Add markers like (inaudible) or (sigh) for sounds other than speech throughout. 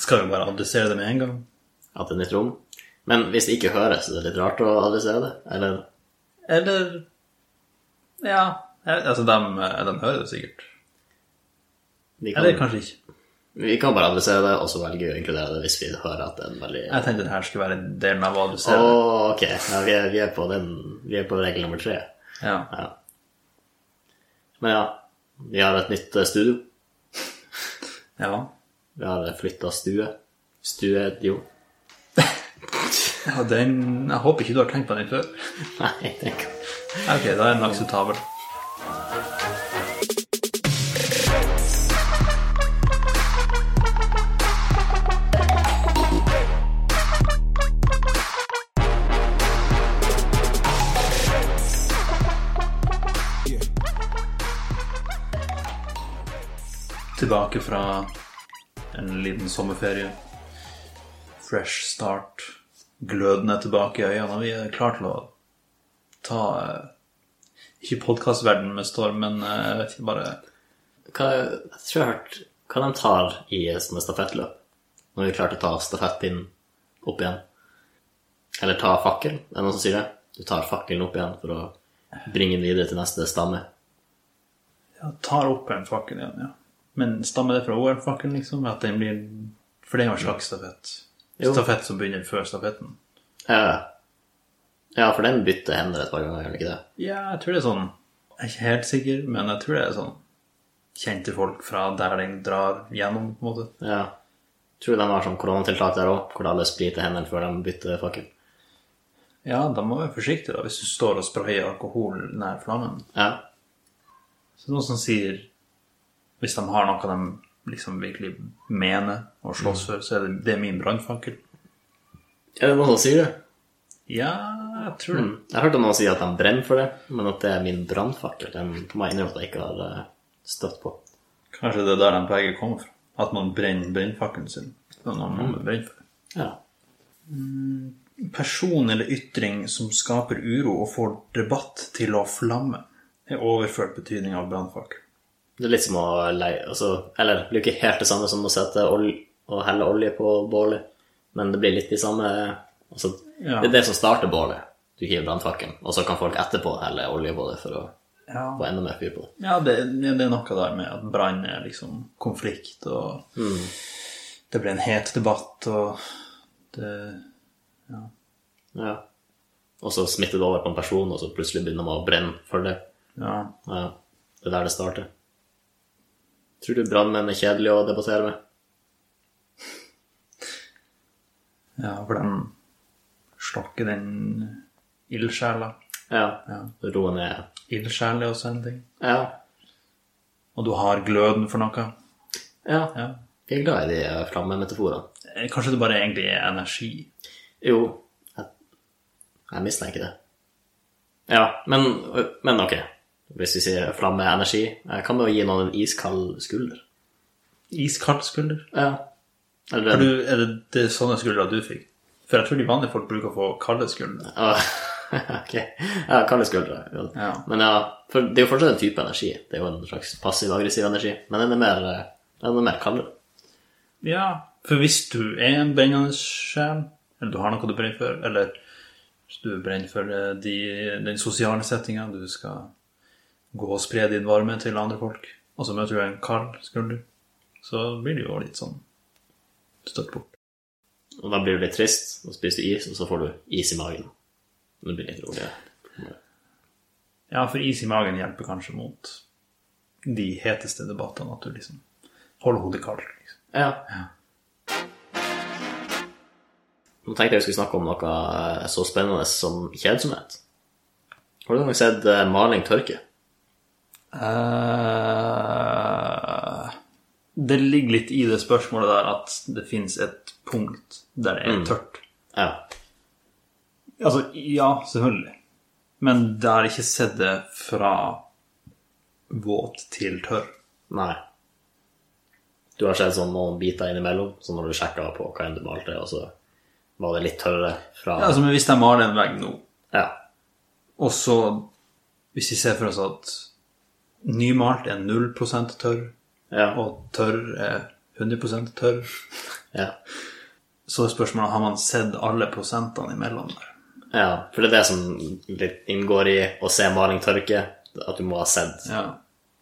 Skal vi bare adressere det med en gang? At det er nytt rom. Men hvis det ikke høres, er det litt rart å adressere det? Eller Eller Ja. jeg- Altså, dem, eh, dem hører det sikkert. vi kan, Eller kanskje ikke. vi kan bare adressere det, og så velge å inkludere det hvis vi hører at det er en veldig Jeg tenkte den her skulle være delen av å Å, adressere. ok. Ja, vi, er, vi, er på den, vi er på regel nummer tre. Ja. Ja. Men ja, vi har et nytt eh, studio. ja. Vi har flytta stue. Studio. Ja, den Jeg håper ikke du har tenkt på den før. (laughs) Nei, tenk. Ok, da er den akseptabel. Tilbake fra en liten sommerferie. Fresh start. Gløden er tilbake i øynene. Vi er klare til å ta eh, Ikke podkastverdenen med storm, men eh, jeg vet ikke, bare Hva, jeg tror jeg har hørt hva de tar i som et stafettløp. Når vi klarte å ta stafettpinnen opp igjen. Eller ta fakkel, er det noen som sier det? Du tar fakkelen opp igjen for å bringe den videre til neste stamme. ja, tar opp en fakkel igjen. ja. Men stammer det fra OL-fakkelen, liksom? At den blir For det er jo en slags stafett. Jo. Stafett som begynner før stafetten. Ja, ja for den bytter hender et par ganger, gjør den ikke det? Ja, jeg tror det er sånn Jeg er ikke helt sikker, men jeg tror det er sånn kjente folk fra der den drar gjennom, på en måte. Ja. Tror de har sånn koronatiltak der òg, hvor alle spriter hendene før de bytter fakkel. Ja, da må man være forsiktig da, hvis du står og sprayer alkohol nær flammen. Ja. Så noen som sier Hvis de har noe de liksom virkelig mener og slåss for, så er det, det er min brannfakkel. Er det noen som sier det? Ja, jeg tror det. Jeg har hørt om noen si at de brenner for det, men at det er min brannfakkel. Den må jeg innrømme at jeg ikke har eh, støtt på. Kanskje det er der de begge kommer fra. At man brenner brennfakkelen sin. Det er noen man brenner for. Ja. Person eller ytring som skaper uro og får debatt til å flamme, er overført betydning av brannfakkel. Det er litt som å leie altså, Eller det blir ikke helt det samme som å sette olje og helle olje på bålet, men det blir litt de samme altså, Ja. Det er det som starter bålet. Du hiver brannfakkelen, og så kan folk etterpå helle olje på det for å Ja, få enda mer fyr på det. ja det, det er noe der med at brann er liksom konflikt, og det blir en het debatt, og det Ja. Og så smitter det over på en person, og så plutselig begynner man å brenne for det. Ja. Ja. Det er der det starter. Tror du brannmenn er kjedelige å debattere med? Ja, for de slokker den ildsjela. Ja. Ja. Roe ned. Ildsjel er også en ting. Ja. Og du har gløden for noe. ja. Ja. Jeg er glad i de eh, flammemetaforene. Eh, Kanskje det bare egentlig er energi. Jo, jeg, jeg mistenker det. Ja, men, men ok. Hvis vi sier flamme er energi, eh, kan vi jo gi noen en iskald skulder. Iskald skulder. Ja. Er, Eller, du, er det, det er sånne skuldre du fikk? For jeg tror de vanlige folk bruker å få kalde skuldre. (laughs) Ah, ok. Ja, kalde skuldre. Ja. Ja. Men ja, for det er jo fortsatt en type energi. Det er jo en slags passiv-aggressiv energi. Men den er mer, eh, den er mer kaldere. Ja, for hvis du er en brennende sjel, eller du har noe du brenner for, eller hvis du brenner for eh, de, den sosiale settinga, du skal gå og spre din varme til andre folk, og så møter du en kald skulder, så blir det jo litt sånn støtt bort. Og da blir du litt trist, og så spiser du is, og så får du is i magen. Det blir litt roligere. Ja, for is i magen hjelper kanskje mot de heteste debattene, at du liksom holder hodet kaldt. Liksom. Ja. Nå tenkte jeg vi skulle snakke om noe eh, så spennende som kjedsomhet. Har du noen gang sett eh, maling tørke? Eh, det ligger litt i det spørsmålet der at det fins et punkt der det er tørt. Ja. Altså, ja, selvfølgelig. Men jeg har ikke sett det fra våt til tørr. Nei. Du har sett sånn noen biter innimellom, så når du sjekker på hva enn du malte, og så var det litt tørrere fra Altså, men hvis jeg maler en vegg nå, Ja. og så Hvis vi ser for oss at nymalt er 0 tørr, Ja. og eh, tørr er 100 tørr Ja. Så er spørsmålet har man sett alle prosentene imellom der. ja. For det er det som litt inngår i å se maling tørke, at du må ha sett Ja.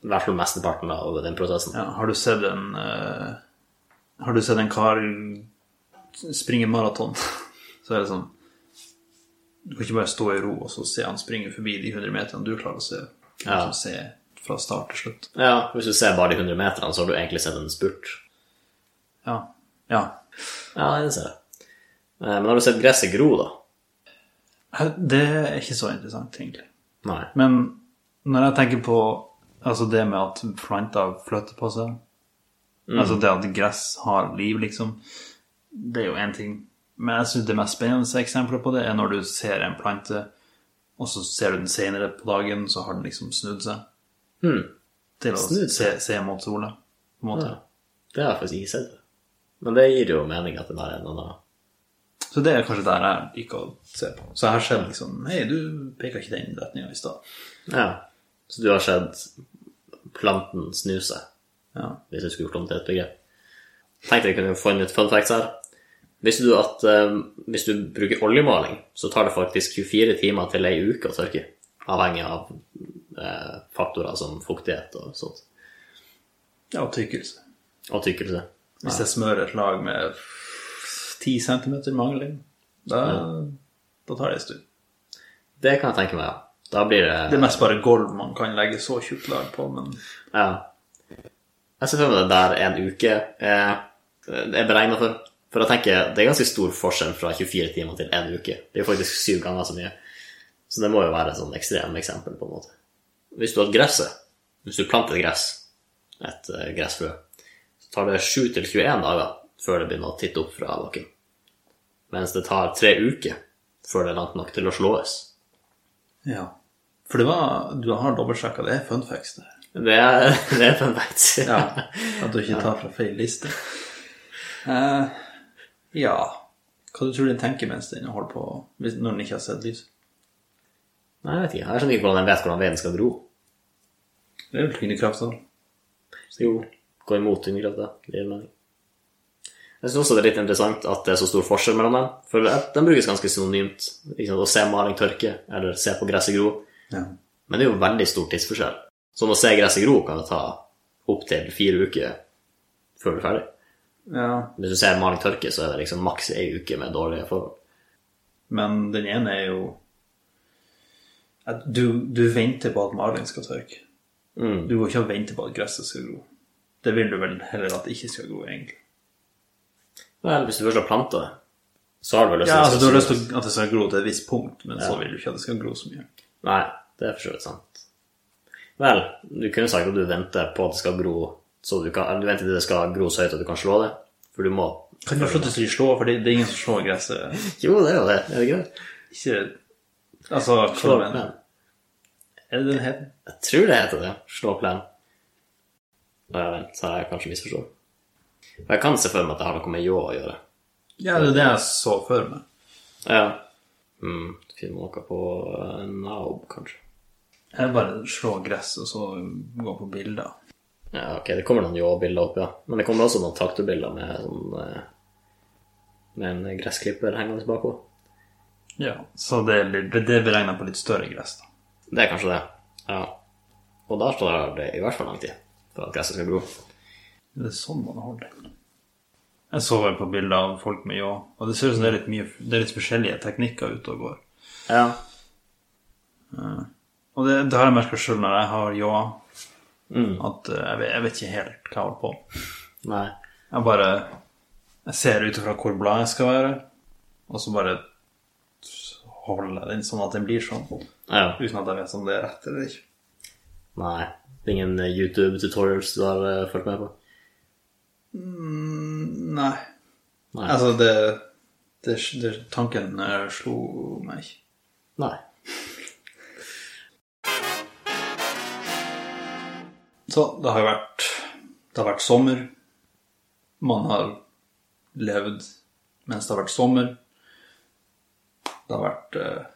i hvert fall mesteparten av den prosessen. ja. Har du sett en eh, Har du sett en kar springe maraton, (laughs) så er det sånn Du kan ikke bare stå i ro og så se han springe forbi de 100 meterne du klarer å se. Du kan Ja. liksom se fra start til slutt. Ja, Hvis du ser bare de 100 meterne, så har du egentlig sett en spurt. Ja. ja. Ja, jeg ser det. Eh, Men har du sett gresset gro, da? Det er ikke så interessant, egentlig. Nei. Men når jeg tenker på altså det med at planter flytter på seg, Mm. altså det at gress har liv, liksom, det er jo én ting. Men jeg syns det mest spennende eksempelet på det er når du ser en plante, og så ser du den senere på dagen, så har den liksom snudd seg Hmm. til å Snudd se, se mot sola, på en måte. Ja. Det har jeg faktisk ikke sett. Men det gir jo mening at den har en annen Så det er kanskje der jeg liker å se på. Så jeg har sett liksom Hei, du peka ikke den retninga i stad. Ja. Så du har sett planten snuse, Ja. hvis du skulle gjort om til et begrep. Tenkte jeg kunne få inn litt fun facts her. Visste du at eh, hvis du bruker oljemaling, så tar det faktisk 24 timer til ei uke å tørke. Avhengig av eh, faktorer som fuktighet og sånt. ja, og tykkelse. Og tykkelse. Hvis jeg smører et lag med 10 cm mangling, da, da tar det en stund. Det kan jeg tenke meg, ja. Da blir Det er mest bare gulv man kan legge så tjukt lag på, men Ja. Jeg ser for meg det der en uke eh, er beregna for. For jeg tenker, Det er ganske stor forskjell fra 24 timer til en uke. Det er jo faktisk syv ganger så mye. Så det må jo være et sånn ekstremt eksempel. på en måte. Hvis du har gresset, hvis du planter et gress, et eh, gressfrø, så tar det 7-21 dager før det begynner å titte opp fra bakken. Mens det tar tre uker før det er langt nok til å slåes. ja. For det var Du har dobbeltsjekka, det er fun facts, det her. Det er, (laughs) det er fun facts. (laughs) At du ikke tar fra feil liste. Eh, ja Hva du tror den tenker mens den holder på hvis- når den ikke har sett lys? Nei, jeg vet ikke. Jeg skjønner ikke hvordan jeg vet hvordan veden skal gro. Det er jo tyngdekrafta. Så jo, gå imot tyngdekrafta. Det gir mening. Jeg syns også det er litt interessant at det er så stor forskjell mellom dem. For det- den brukes ganske synonymt. Ikke sant, å se maling tørke, eller se på gresset gro. Ja. Men det er jo veldig stor tidsforskjell. Sånn å se gresset gro kan det ta opptil fire uker før du er ferdig. ja. Hvis du ser maling tørke, så er det liksom maks ei uke med dårlige forhold. Men den ene er jo at du, du venter på at malingen skal tørke. Mm. Du går ikke og venter på at gresset skal gro. Det vil du vel heller at det ikke skal gro, egentlig. Vel, hvis du først har planta det, så har du vel lyst Ja, altså Du har det lyst skal- til at det skal gro til et visst punkt, men så vil du ikke at det skal gro så mye. Nei, det er for så vidt sant. Vel, du kunne sagt at du venter på at det skal gro så du kan, eller du venter til det skal gro så høyt at du kan slå det. For du må Kan du slutte å slå, for det, det er ingen som slår gresset. Jo, det er jo det. Er det ikke det? Ikke Altså, Slå hva mener plen. du? Er det den heter? Jeg tror det heter det. Slå plen. Nei, vent, så har jeg kanskje misforstått. For jeg kan se for meg at det har noe med ljå å gjøre. Ja, det er det jeg så for meg. Ja. Mm, finner noe på eh, Naob, kanskje. Jeg bare slår gress, og så går på bilder. Ja, ok, det kommer noen ljåbilder opp, ja. Men det kommer også noen traktorbilder med sånn eh, Med en gressklipper hengende bakpå. Ja, Så det, er litt- det er beregna på litt større gress, da. Det er kanskje det. Ja. Og da står det i hvert fall lang tid for at gresset skal gro. Det er sånn man holder det. Jeg så vel på bilder av folk med ljå, og det ser ut som det er litt, mye, det er litt forskjellige teknikker ute og går. Ja. Og det, det har jeg merka sjøl når jeg har ljå, Mm. at eh, jeg vet, jeg vet ikke helt hva jeg holder på med. Nei. Jeg bare jeg ser ut ifra hvor bladet skal være, og så bare holder jeg den sånn at den blir sånn, uten Ja. at jeg vet om det er rett eller ikke. Nei. Det er ingen YouTube-tutorials du har eh, fulgt med på? Nei. Nei. Altså, det, det, det Tanken eh, slo meg ikke. Nei. Så det har jo vært Det har vært sommer. Man har levd mens det har vært sommer. Det har vært eh,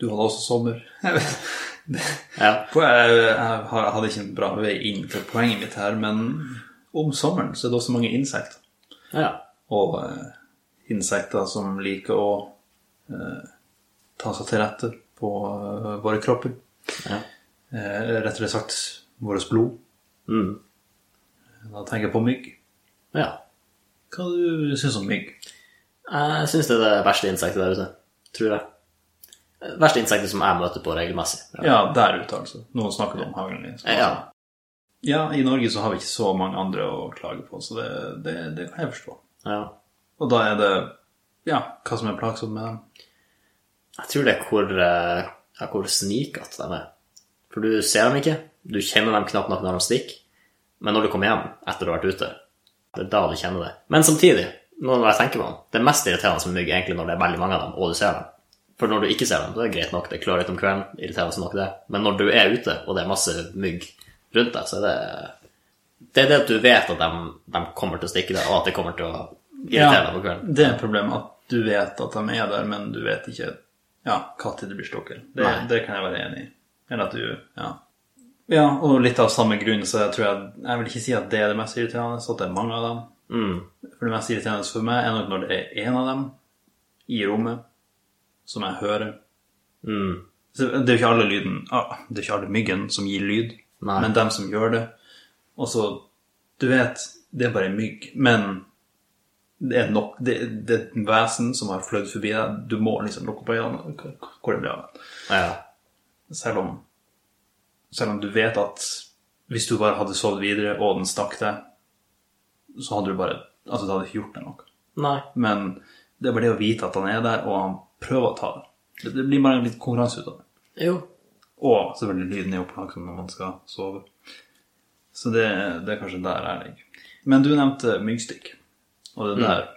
Du hadde også sommer. (laughs) Jeg vet- Ja. Po- Jeg, jeg har- jeg hadde ikke en bra vei inn til poenget mitt her, men om sommeren så er det også mange insekter. Ja, ja. og eh, insekter som liker å eh, ta seg til rette på eh, våre kropper. ja. Eh, rettere sagt vårt blod. Mm. Da tenker jeg på mygg. ja. Hva du syns du om mygg? Jeg syns det er det verste insektet der ute. Tror jeg. Verste insektet som jeg møter på regelmessig. Ja, der ute, altså. Noen snakker om haglen din. Ja. ja. ja, i Norge så har vi ikke så mange andre å klage på, så det, det, det kan jeg forstå. ja. Og da er det ja, hva som er plagsomt med dem. Jeg tror det er hvor, eh, ja, hvor snikete de er. For du ser dem ikke, du kjenner dem knapt nok når de stikker. Men når du kommer hjem etter å ha vært ute, det er da du kjenner det. Men samtidig, nå når jeg tenker på dem, det mest irriterende med mygg er egentlig når det er veldig mange av dem, og du ser dem. For når du ikke ser dem, da er det greit nok, det klør litt om kvelden, irriterende nok det. Men når du er ute, og det er masse mygg rundt deg, så er det Det er det at du vet at de, de kommer til å stikke deg, og at det kommer til å irritere deg på kvelden. Det er problemet at du vet at de er der, men du vet ikke ja, hva tid det blir stukket. Det, Nei. det kan jeg være enig i. Eller at du Ja. ja, og litt av samme grunn, så jeg tror jeg Jeg vil ikke si at det er det mest irriterende, så at det er mange av dem. Mm. For det mest irriterende for meg er nok når det er én av dem i rommet som jeg hører. Mm. Så Det er jo ikke alle lyden ah, Det er ikke alle myggen som gir lyd, Nei. men dem som gjør det. Og så Du vet, det er bare en mygg, men det er nok Det, det er et vesen som har fløyd forbi deg. Du må liksom lukke opp øynene og k- hvor det blir av. deg. Ja. Selv om Selv om du vet at hvis du bare hadde sovet videre, og den stakk deg, så hadde du bare Altså, det hadde ikke gjort deg noe. Nei. Men det er bare det å vite at han er der, og han prøver å ta det. Det- Det blir bare en litt konkurranse ut av det. Jo. Og selvfølgelig lyden er jo plagsom når man skal sove. Så det, det er kanskje der jeg ligger. Men du nevnte myggstikk, og det er der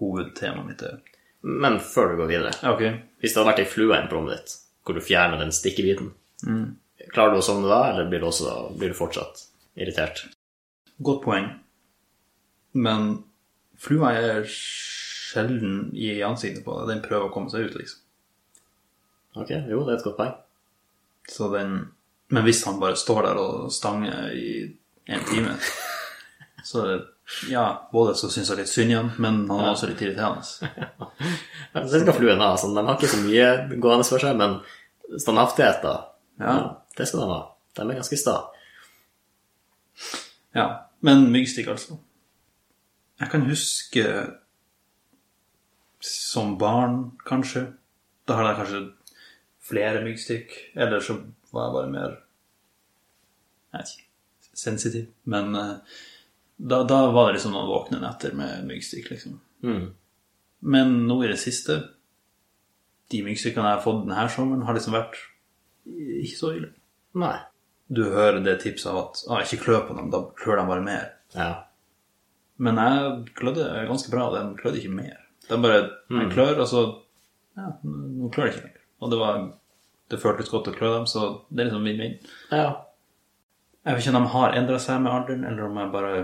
hovedtemaet mitt er. Men før du går videre, Ja, ok. hvis det hadde vært ei flue inne på rommet ditt, hvor du fjerner den stikkebiten, klarer du å sovne da, eller blir du, også, blir du fortsatt irritert? Godt poeng. Men flua er sjelden i ansiktet på deg. Den prøver å komme seg ut, liksom. Ok, jo, det er et godt poeng. Så den... Men hvis han bare står der og stanger i en (laughs) time, så er det... Ja, både så synes jeg litt synd i han, men han er også litt irriterende. (laughs) Men Det skal fluen ha. Sånn, de har ikke så mye gående for seg, men standhaftighet, da. Ja. det skal de ha. De er ganske sta. Ja, men myggstikk altså. Jeg kan huske som barn, kanskje. Da hadde jeg kanskje flere myggstikk. Eller så var jeg bare mer Jeg vet ikke sensitiv. Men eh, da, da var det liksom noen våkne netter med myggstikk, liksom. Mm. Men nå i det siste De myggstikkene jeg har fått denne sommeren, har liksom vært ikke så ille. Nei. Du hører det tipset av at ah, ikke klø på dem, da klør de bare mer. Ja. Men jeg klødde ganske bra, og den klødde ikke mer. Den bare jeg klør, og så ja, nå klør det ikke lenger. Og det var det føltes godt å klø dem, så det er liksom vinn-vinn. ja. Jeg vet ikke om de har endra seg med alderen, eller om jeg bare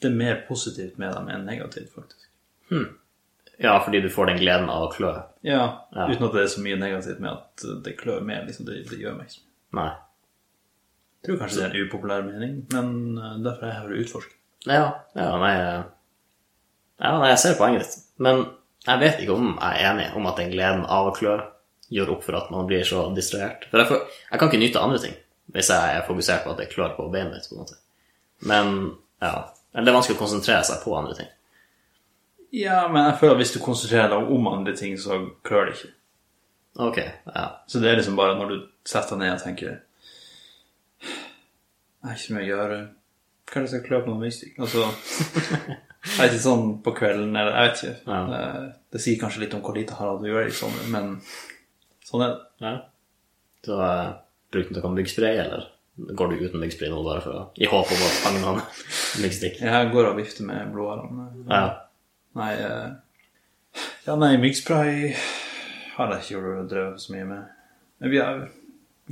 Det er mer positivt med dem enn negativt, faktisk. Ja, fordi du får den gleden av å klø. Ja, Ja. uten at det er så mye negativt med at det klør mer. Liksom, det, det gjør meg ikke så mye. Nei. Jeg tror kanskje det er en upopulær mening, men eh, derfor er jeg her å utforske. Ja, ja, nei, eh, ja, nei, jeg ser poenget ditt. Men jeg vet ikke om jeg er enig om at den gleden av å klø gjør opp for at man blir så distrahert. For jeg, får, jeg kan ikke nyte andre ting hvis jeg er fokusert på at jeg klør på beinet mitt. på en måte. Men ja, eller det er vanskelig å konsentrere seg på andre ting. Ja, men jeg føler at hvis du konsentrerer deg om andre ting, så klør det ikke. Ok, ja. Så det er liksom bare når du setter deg ned og tenker Jeg har ikke så mye å gjøre. Kanskje jeg skal klø på noe mystikk. Og så Jeg vet ikke sånn på kvelden eller Jeg vet ikke. Ja. Eh, Det sier kanskje litt om hvor lite Harald gjør i sommer, men sånn er det. ja. Så eh, bruker du noe myggspray, eller går du uten myggspray nå bare for å, i håp om å fange noen (laughs) myggstikk? Jeg går og vifter med blodårene. Ja. Nei eh, Ja, nei, myggspray har jeg ikke drevet så mye med. Men vi, er,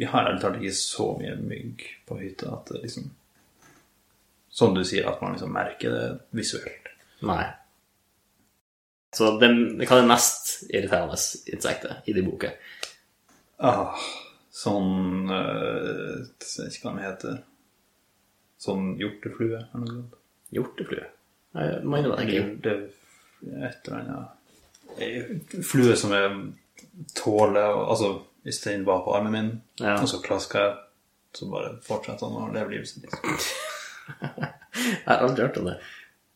vi har ærlig talt ikke så mye mygg på hytta at det liksom Som du sier, at man liksom merker det visuelt. Nei. Så det, hva er det mest irriterende insektet i de boka? Ah, sånn eh, Jeg vet ikke hva de heter. Sånn hjorteflue eller noe sånt. Hjorteflue. Nei, Jeg må innrømme at jeg ikke Det er et eller annet En Flue som jeg tåler og- Altså, hvis den var på armen min, Ja. og så klaska jeg, så bare fortsatte han å leve livet sitt. liksom. Jeg har aldri hørt om det.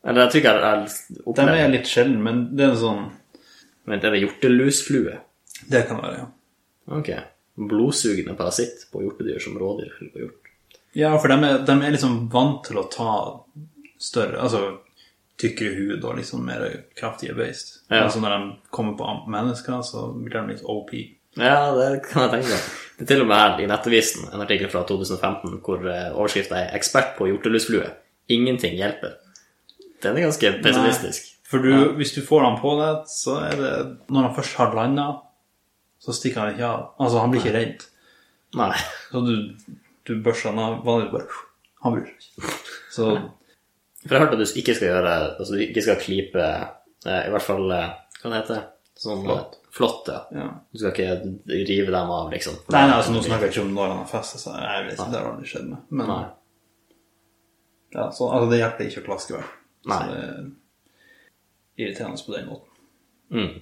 Eller jeg tror ikke jeg har De opplevd er det. litt sjelden, men det er en sånn Vent, er det hjortelusflue? Det kan være, ja. Ok. Blodsugende parasitt på hjortedyr som rådyr eller på hjort. Ja, for de er, de er liksom vant til å ta større Altså tykkere hud og liksom mer kraftige beist. Ja. Altså når de kommer på mennesker, så blir de litt OP. Ja, det kan jeg tenke meg. Det er til og med her i Nettavisen en artikkel fra 2015 hvor eh, overskriften er 'Ekspert på hjortelusflue'. Ingenting hjelper. Den er ganske pessimistisk. For du, hvis du får han på deg, så er det Når han først har landa, så stikker han ikke av. Altså, han blir ikke redd. Nei. Så du, du børster han av vanligvis bare Han bryr seg ikke. Så For jeg har hørt at du ikke skal gjøre Altså du ikke skal klipe eh, I hvert fall eh, Hva det heter det? Sånn Flått. flott. flott, ja. ja. Du skal ikke rive dem av, liksom. Nei, nei, altså, nå snakker jeg ikke om når han har festa seg. Jeg vet ikke, Det har aldri skjedd meg. Men Nei. ja, så, altså, det hjelper ikke å klaske vel. Så Nei. det er irriterende på den måten. Mm.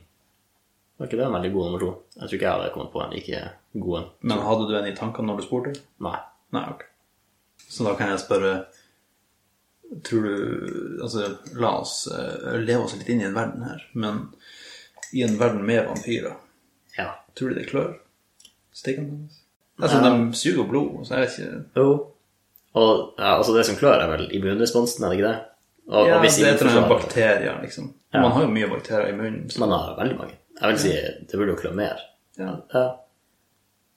Var ikke det en veldig god nummer to? Jeg tror ikke jeg hadde kommet på en like god en. Men hadde du en i tankene når du spurte? Nei. Nei, ok. Så da kan jeg spørre Tror du Altså, la oss eh, leve oss litt inn i en verden her, men i en verden med vampyrer, Ja. tror du det klør? Stikkene deres? Altså, de suger blod, så jeg vet ikke Jo. Og ja, altså det som klør, er vel immunresponsen, er det ikke det? Og, ja, og hvis Det er etter immunforsvaret- bakterier, liksom. Man har jo mye bakterier i munnen. Så. Man har veldig mange. Jeg vil si det burde jo klø mer. Ja. Ja.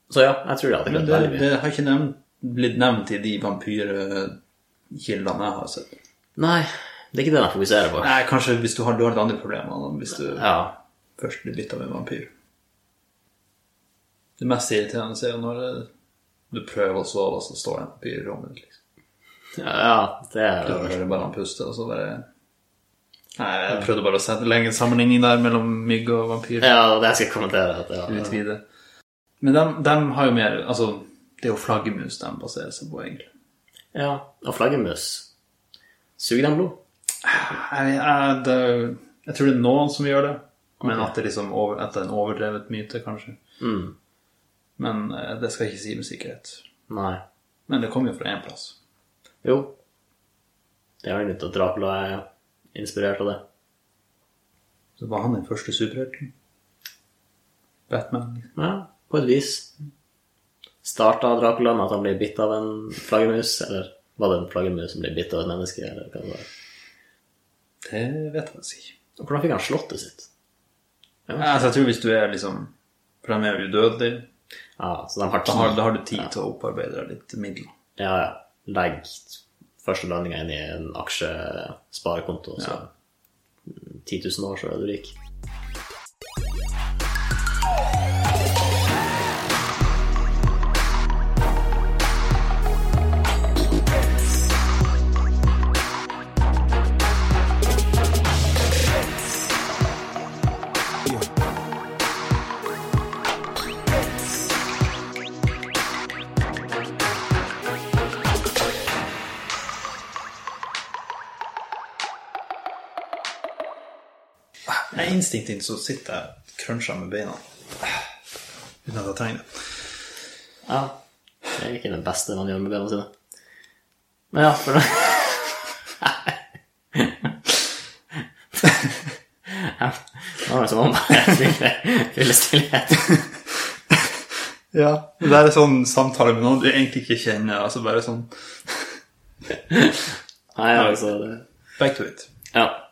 Så ja, jeg tror det hadde Men klødd det, veldig mye. det har ikke nevnt, blitt nevnt i de vampyrkildene jeg har sett. Nei, det er ikke det jeg fokuserer på. Nei, kanskje hvis du har du har litt andre problemer, da, hvis du Ja. først blir bitt av en vampyr. Det mest irriterende er jo når eh, du prøver å sove, og så står det en vampyr i rommet ditt. Liksom. Ja, det er Du hører bare han puste, og så bare Nei, jeg prøvde bare å sette legge en sammenligning der mellom mygg og vampyr. Ja, det skal jeg kommentere. At, ja. Utvide. Men dem, dem har jo mer Altså, det er jo flaggermus de baserer seg på, egentlig. ja, Og flaggermus. Suger den blod? Jeg, jeg, det, er jo- jeg tror det er noen som gjør det, men at det liksom over, at det er en overdrevet myte, kanskje. Mm. Men eh, det skal jeg ikke si med sikkerhet. Nei. Men det kommer jo fra én plass. Jo. Det er vel nytt at Dracula er inspirert av det. Så var han den første superhelten. Batman. Ja, på et vis. Starta Dracula med at han ble bitt av en flaggermus? Eller var det en flaggermus som ble bitt av et menneske? Eller hva det var? Det vet jeg altså ikke. Og Hvordan fikk han slottet sitt? Altså, jeg tror hvis du er liksom For de er jo udødelige. Ja, så de har Da har, tid. da har du tid til å opparbeide deg litt midler. Ja, ja. Legg første lønninga inn i en aksjesparekonto, så 10 000 år, så er du rik. Nei, instinktivt så sitter jeg krønsja med beina. Uten at jeg trenger det. Ja. Det er ikke det beste man gjør med beina sine. Men ja, for det (laughs) Ja, Nå er det som om jeg (laughs) fyller- fyller stillhet. Ja. Det er sånn samtale med noen du egentlig ikke kjenner. Altså bare sånn Nei, altså det- Back to it. Ja.